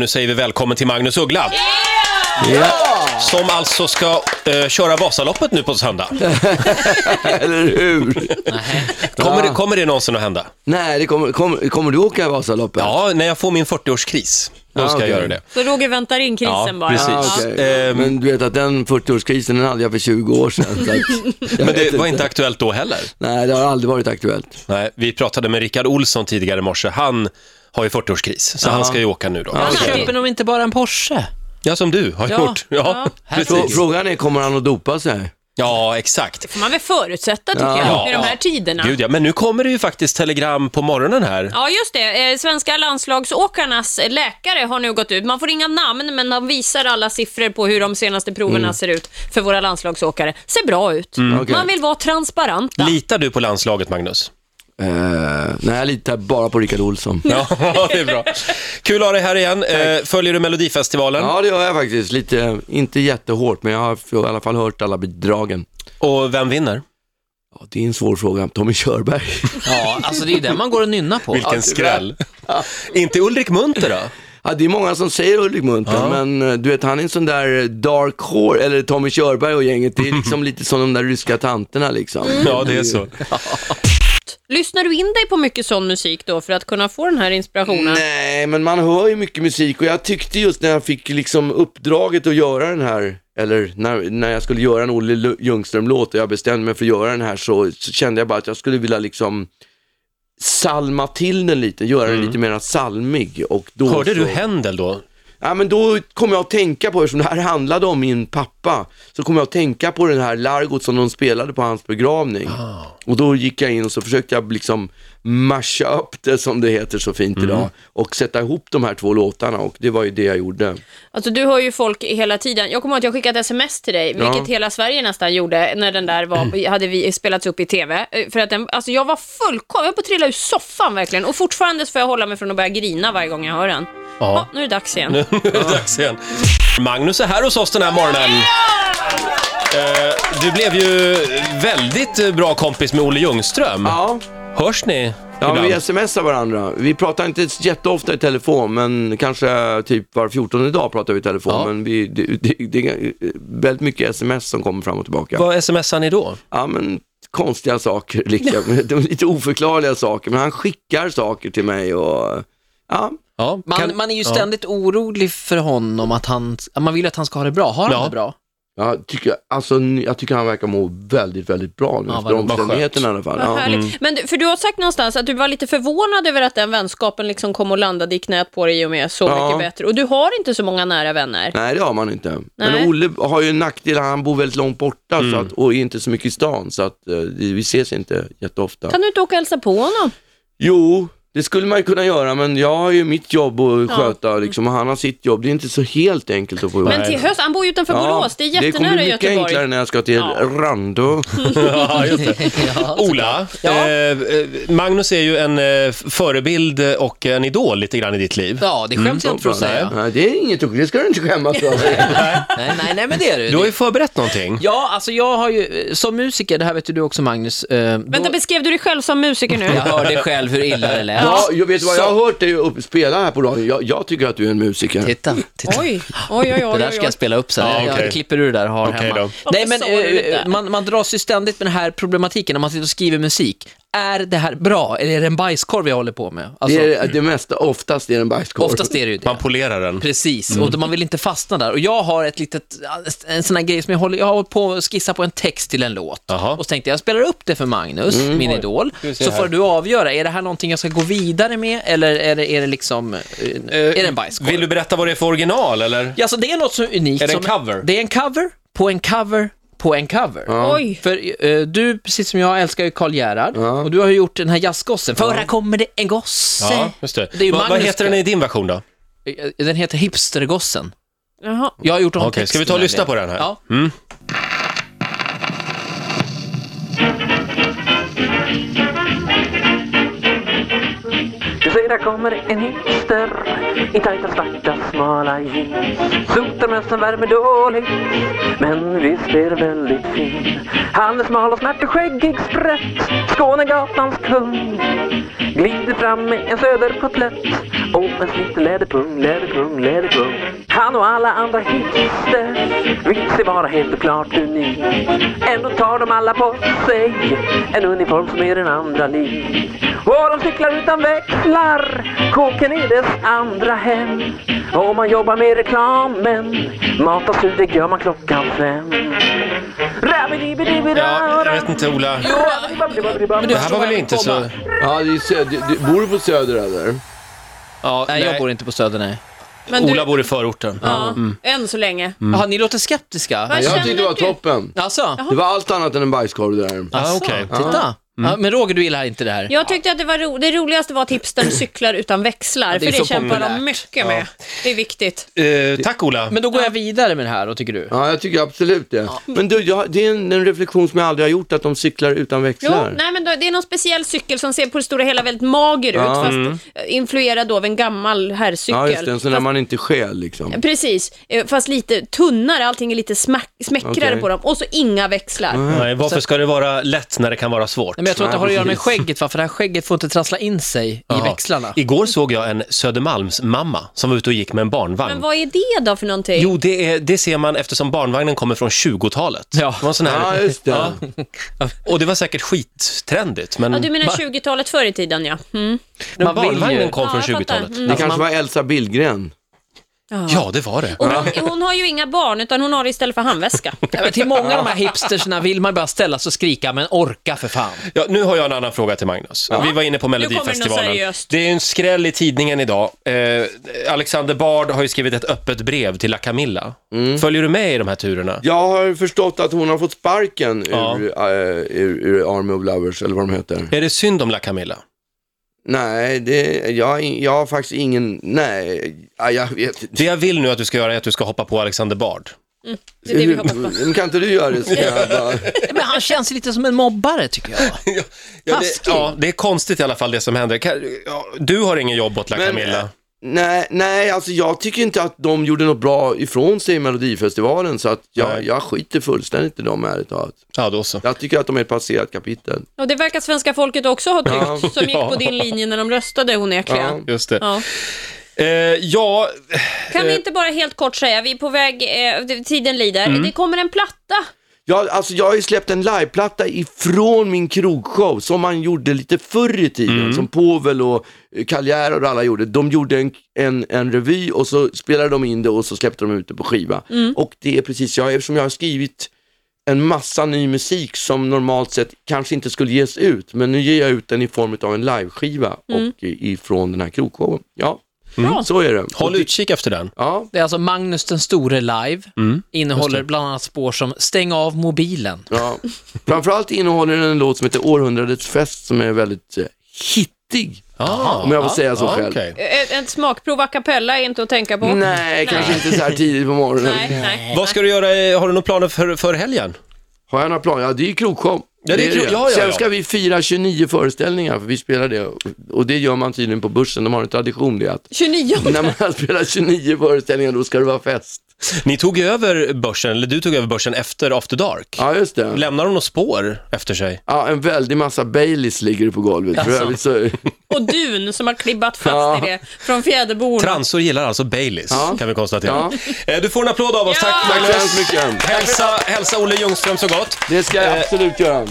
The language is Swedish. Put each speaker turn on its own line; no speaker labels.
Nu säger vi välkommen till Magnus Uggla. Som alltså ska eh, köra Vasaloppet nu på söndag.
Eller hur?
Kommer, det, kommer det någonsin att hända?
Nej, det kommer, kommer, kommer du åka Vasaloppet?
Ja, när jag får min 40-årskris, då
Ja,
ska
okej.
jag göra det.
Så Roger väntar in krisen
Ja,
bara.
precis.
Ah, okej.
Ehm.
Men du vet att den 40-årskrisen den hade jag för 20 år sedan. Så att, jag
Men
vet
det var inte aktuellt då heller.
Nej, det har aldrig varit aktuellt.
Nej, vi pratade med Rickard Olsson tidigare i morse. Han har ju 40-årskris, så han ska ju åka nu då.
Ja,
Han
okej.
köper nog inte bara en Porsche.
Ja, som du har
Ja,
gjort. Ja,
ja.
Frå,
precis.
frågan är, kommer han att dopa sig?
Ja, exakt.
Det får man väl förutsätta tycker
Ja.
jag, i de här tiderna.
Gud ja, men nu kommer det ju faktiskt telegram på morgonen här.
Ja, just det. Eh, Svenska landslagsåkarnas läkare har nu gått ut. Man får inga namn, men de visar alla siffror på hur de senaste proverna
Mm.
ser ut för våra landslagsåkare. Ser bra ut.
Okej.
Man vill vara transparenta.
Litar du på landslaget, Magnus?
Eh, nej, jag litar bara på Rickard Olsson.
Ja, det är bra. Kul att ha dig här igen. Eh, Följer du Melodifestivalen?
Ja, det gör jag faktiskt. Lite, inte jättehårt, men jag har i alla fall hört alla bidragen.
Och vem vinner?
Ja, det är en svår fråga. Tommy Körberg.
Ja, alltså det är ju den man går och nynnar på.
Vilken skräll. Inte Ulrik Munther då?
Ja, det är många som säger Ulrik Munther, men eh, du vet han är en sån där dark horse, eller Tommy Körberg och gänget, det är liksom lite som de där ryska tanterna liksom.
Mm. Ja, det är så.
Lyssnar du in dig på mycket sån musik då för att kunna få den här inspirationen?
Nej, men man hör ju mycket musik och jag tyckte just när jag fick liksom uppdraget att göra den här, eller när, när jag skulle göra en Olle Lu- Ljungström-låt och jag bestämde mig för att göra den här så, så kände jag bara att jag skulle vilja liksom salma till den lite, göra den lite mer salmig. Och då
Mm. Hörde
så...
du Händel då?
Ja, men då kom jag att tänka på, eftersom det här handlade om min pappa, så kom jag att tänka på den här largot som de spelade på hans begravning.
Ah.
Och då gick jag in och så försökte jag liksom masha upp det som det heter så fint
Mm.
idag och sätta ihop de här två låtarna och det var ju det jag gjorde.
Alltså du hör ju folk hela tiden. Jag kommer ihåg att jag skickade ett sms till dig, vilket
Ja. Mm.
hela Sverige nästan gjorde när den där var, hade vi spelats upp i TV. Eh, För att den, alltså jag var fullkomligt, jag höll på att trilla ur soffan verkligen. Och fortfarande så får jag hålla mig från att börja grina varje gång jag hör den. Ja, nu är det dags igen.
Nu är det dags igen. Magnus är här hos oss den här morgonen. Eh, Du blev ju väldigt eh, bra kompis med Olle Ljungström.
Ja,
Hörs ni
ja
ibland?
vi smsar varandra. Vi pratar inte jätteofta i telefon, men kanske typ var 14 dag pratar vi i telefon.
Ja.
Men vi, det, det, det är väldigt mycket sms som kommer fram och tillbaka.
Vad smsar ni då?
ja men konstiga saker, liksom. De är lite oförklarliga saker, men han skickar saker till mig och ja,
Ja,
Man,
kan-
man är ju ständigt orolig för honom, att han, att man vill att han ska ha det bra. Har han
Ja.
det bra?
jag tycker, alltså, jag tycker han verkar må väldigt, väldigt bra nu,
Ja,
efter
vad- vad
omständigheterna i alla fall.
Vad
Ja. Mm.
härligt. Men du, för du har sagt någonstans att du var lite förvånad över att den vänskapen liksom kom och landade i knät på dig i och med Så
Ja.
mycket bättre. Och du har inte så många nära vänner.
Nej, det har man inte.
Nej.
Men Olle har ju en nackdel, han bor väldigt långt borta så att, och är inte så mycket i stan, så att eh, vi ses inte jätteofta.
Kan du inte åka och hälsa på honom?
Jo, det skulle man ju kunna göra, men jag har ju mitt jobb att sköta liksom, och han har sitt jobb. Det är inte så helt enkelt att få ihop.
Men till höst, han bor ju utanför Borås, det är
det kommer
jättenära
bli mycket
Göteborg.
enklare när jag ska till Randö.
Ja, just det. Oh.
Ja. alltså,
Ola,
Ja.
eh, eh, Magnus är ju en eh, förebild och en idol lite grann i ditt liv.
Ja, det
Mm,
skäms jag inte för att säga.
Nej, det är inget det ska du inte skämmas för.
Nej, nej, nej, men det är det.
Du har ju förberett någonting.
Ja, alltså jag har ju, eh, som musiker, det här vet ju du också Magnus. Eh, då,
Vänta, beskrev du dig själv som musiker nu?
jag hörde själv hur illa det lät.
Ja, jag vet vad,
Så-
jag har hört dig upp, spela här på radion. Jag, jag tycker att du är en musiker.
Titta, titta.
Oj, oj, oj,
Det
oj,
där
oj,
ska
oj.
jag spela upp sen.
Ja, okej.
Jag klipper ur det där och har
Okej
hemma.
då.
Nej, men
Varför sa du det?
eh, man, man dras ju ständigt med den här problematiken när man sitter och skriver musik. Är det här bra eller är det en bajskorv jag håller på med? Alltså,
Det är det mesta, oftast är det en bajskorv.
Oftast är det ju det.
Man polerar den.
Precis,
Mm.
och man vill inte fastna där. Och jag har ett litet, en sån här grej som jag håller, jag har hållit på att skissa på en text till en låt.
Jaha. Mm.
Och så tänkte jag, jag spelar upp det för Magnus, min idol,
se här.
så får du avgöra, är det här någonting jag ska gå vidare med eller är det, är det liksom, eh, är det en bajskorv?
Vill du berätta vad det är för original eller?
Ja, så det är något som är unikt.
Är det en
som,
cover?
Det är en cover, på en cover, på en cover.
Oj.
För eh, du, precis som jag, älskar ju Karl Gerhard och du har ju gjort den här jazzgossen. För här kommer det en gosse.
Ja, just det.
Det är ju
Va, vad
Magnus-
heter den i din version då?
Eh, Den heter Hipstergossen.
Jaha.
Jag har gjort om
Okej,
texten.
ska vi ta och lyssna på den här? Mm.
Ja.
You see, fredag kommer en hipster i tajta svarta smala jeans. Sotarmössan värmer dåligt, men visst är det väldigt fin. Han är smal och smärt och skäggig sprätt, Skånegatans kung. Glider fram med en söderkotlett och en snitten läderpung, läderpung, läderpung. Han och alla andra hipster vill sig vara helt och klart unik. Ändå tar de alla på sig en uniform som är den andra lik. Och de cyklar utan växlar, koken är dess andra hem. Och man jobbar med reklamen, matas ut, det gör man klockan fem.
Ja, jag vet inte Ola.
Men
Det här var väl inte så...
Ja, det är söder, det, bor du på Söder eller?
Ja,
Nej, jag bor inte på Söder, nej.
Men
Ola
du,
bor i förorten.
ja, än så länge.
Mm.
Jaha, ni låter skeptiska.
Jag
Vad
tyckte det var
känner du?
toppen.
Alltså?
Det var allt annat än en bajskorv det
Ja,
där.
Mm.
Alltså,
Ah, okej.
Titta. Ja, men Roger, du gillar inte det här.
Jag tyckte att det var ro det roligaste var att hipstern cyklar utan växlar,
det är
för det
så
kämpar de
populärt.
mycket med. Det är viktigt.
Eh, tack Ola.
Men då går jag vidare med det här, vad tycker du?
Ja, jag tycker absolut det. Men du, jag, det är en, en reflektion som jag aldrig har gjort, att de cyklar utan
Jo,
växlar.
nej, men då, det är någon speciell cykel som ser på det stora hela väldigt mager ut, fast eh, influerad då av en gammal herrcykel.
ja, just det, en sån där man inte stjäl liksom.
Precis, eh, fast lite tunnare, allting är lite smack, smäckrare
Okej.
på dem. Och så inga växlar.
Nej, varför ska det vara lätt när det kan vara svårt?
Nej, men jag tror att det
Nej,
har att göra med
precis.
skägget, va? för det här skägget får inte trassla in sig i
Jaha.
växlarna.
Igår såg jag en Södermalmsmamma som var ute och gick med en barnvagn.
Men vad är det då för någonting?
Jo, det, är, det ser man eftersom barnvagnen kommer från 20-talet.
Ja.
Det var en sån här...
Ja, just det.
Ja. Och det var säkert skittrendigt, men
Ja, du menar 20-talet förr i tiden, ja. Mm.
men
Man vill ju-
barnvagnen kom
Ja,
från
jag fattar.
20-talet.
Det kanske var Elsa Billgren.
Ja, det var det.
Och hon, hon har ju inga barn, utan hon har det istället för handväska.
Ja, men till många av de här hipsterserna vill man bara ställa sig och skrika, men orka för fan.
Ja, nu har jag en annan fråga till Magnus. Vi var inne på
något
Melodifestivalen.
seriöst.
Det är ju en skräll i tidningen idag. Eh, Alexander Bard har ju skrivit ett öppet brev till La Camilla.
Mm.
Följer du med i de här turerna?
Jag har förstått att hon har fått sparken
Ja.
ur, eh, ur, ur Army of Lovers, eller vad de heter.
Är det synd om La Camilla?
Nej, det, jag, har in- jag har faktiskt ingen, nej, ja, jag vet inte.
Det jag vill nu att du ska göra är att du ska hoppa på Alexander Bard.
Det är det vi hoppas på.
Men kan inte du göra det? Så jag bara...
Men han känns lite som en mobbare, tycker jag.
Ja, det,
Taskig.
ja, det är konstigt i alla fall det som händer. Kan, ja, du har ingen jobb åt La
Men,
Camilla.
eh, Nej, nej, alltså jag tycker inte att de gjorde något bra ifrån sig i Melodifestivalen, så att jag,
Nej.
jag skiter fullständigt i dem ärligt talat.
Ja, då så.
Jag tycker att de är ett passerat kapitel.
Och det verkar svenska folket också ha tyckt, som gick
ja.
på din linje när de röstade onekligen.
Just det.
Ja.
Eh, ja,
Kan vi inte bara helt kort säga, vi är på väg, eh, det- tiden lider, det kommer en platta.
Jag, alltså jag har ju släppt en liveplatta ifrån min krogshow som man gjorde lite förr i tiden, som Povel och eh, Kaljär och alla gjorde. De gjorde en, en, en revy och så spelade de in det och så släppte de ut det på skiva. Och det är precis, jag, eftersom jag har skrivit en massa ny musik som normalt sett kanske inte skulle ges ut, men nu ger jag ut den i form av en liveskiva och i- ifrån den här krogshowen. Ja, så är det.
håll utkik efter den.
Ja,
Det är alltså Magnus den store live,
Mm,
innehåller bland annat spår som Stäng av mobilen.
Ja. Framförallt innehåller den en låt som heter Århundradets fest som är väldigt eh, hittig.
Ah,
Om jag får säga så själv.
okej.
Ett, Eh, ett smakprov a cappella är inte att tänka på.
Nej, kanske inte så här tidigt på morgonen.
Nej, nej.
Vad ska du göra? i- Har du några planer för, för helgen?
Har jag några planer? Ja, det är ju krogshow.
Ja, det är krog- ja, ja,
Sen
ja.
ska vi fira 29 föreställningar, för vi spelar det. Och det gör man tydligen på börsen, de har en tradition det att
29
när man har spelat 29 föreställningar, då ska det vara fest.
Ni tog ju över börsen, eller du tog över börsen efter After Dark.
Ja, just det.
Lämnar de något spår efter sig?
Ja, en väldig massa Baileys ligger på golvet. För övrigt så...
och dun som har klibbat fast
Ja.
i det från fjäderborna.
Transor gillar alltså Baileys,
Ja.
kan vi konstatera. Eh, Du får en applåd av oss.
Ja!
Tack
Tack så
Magnus.
hemskt mycket.
Hälsa, hälsa Olle Ljungström så gott.
Det ska jag absolut göra.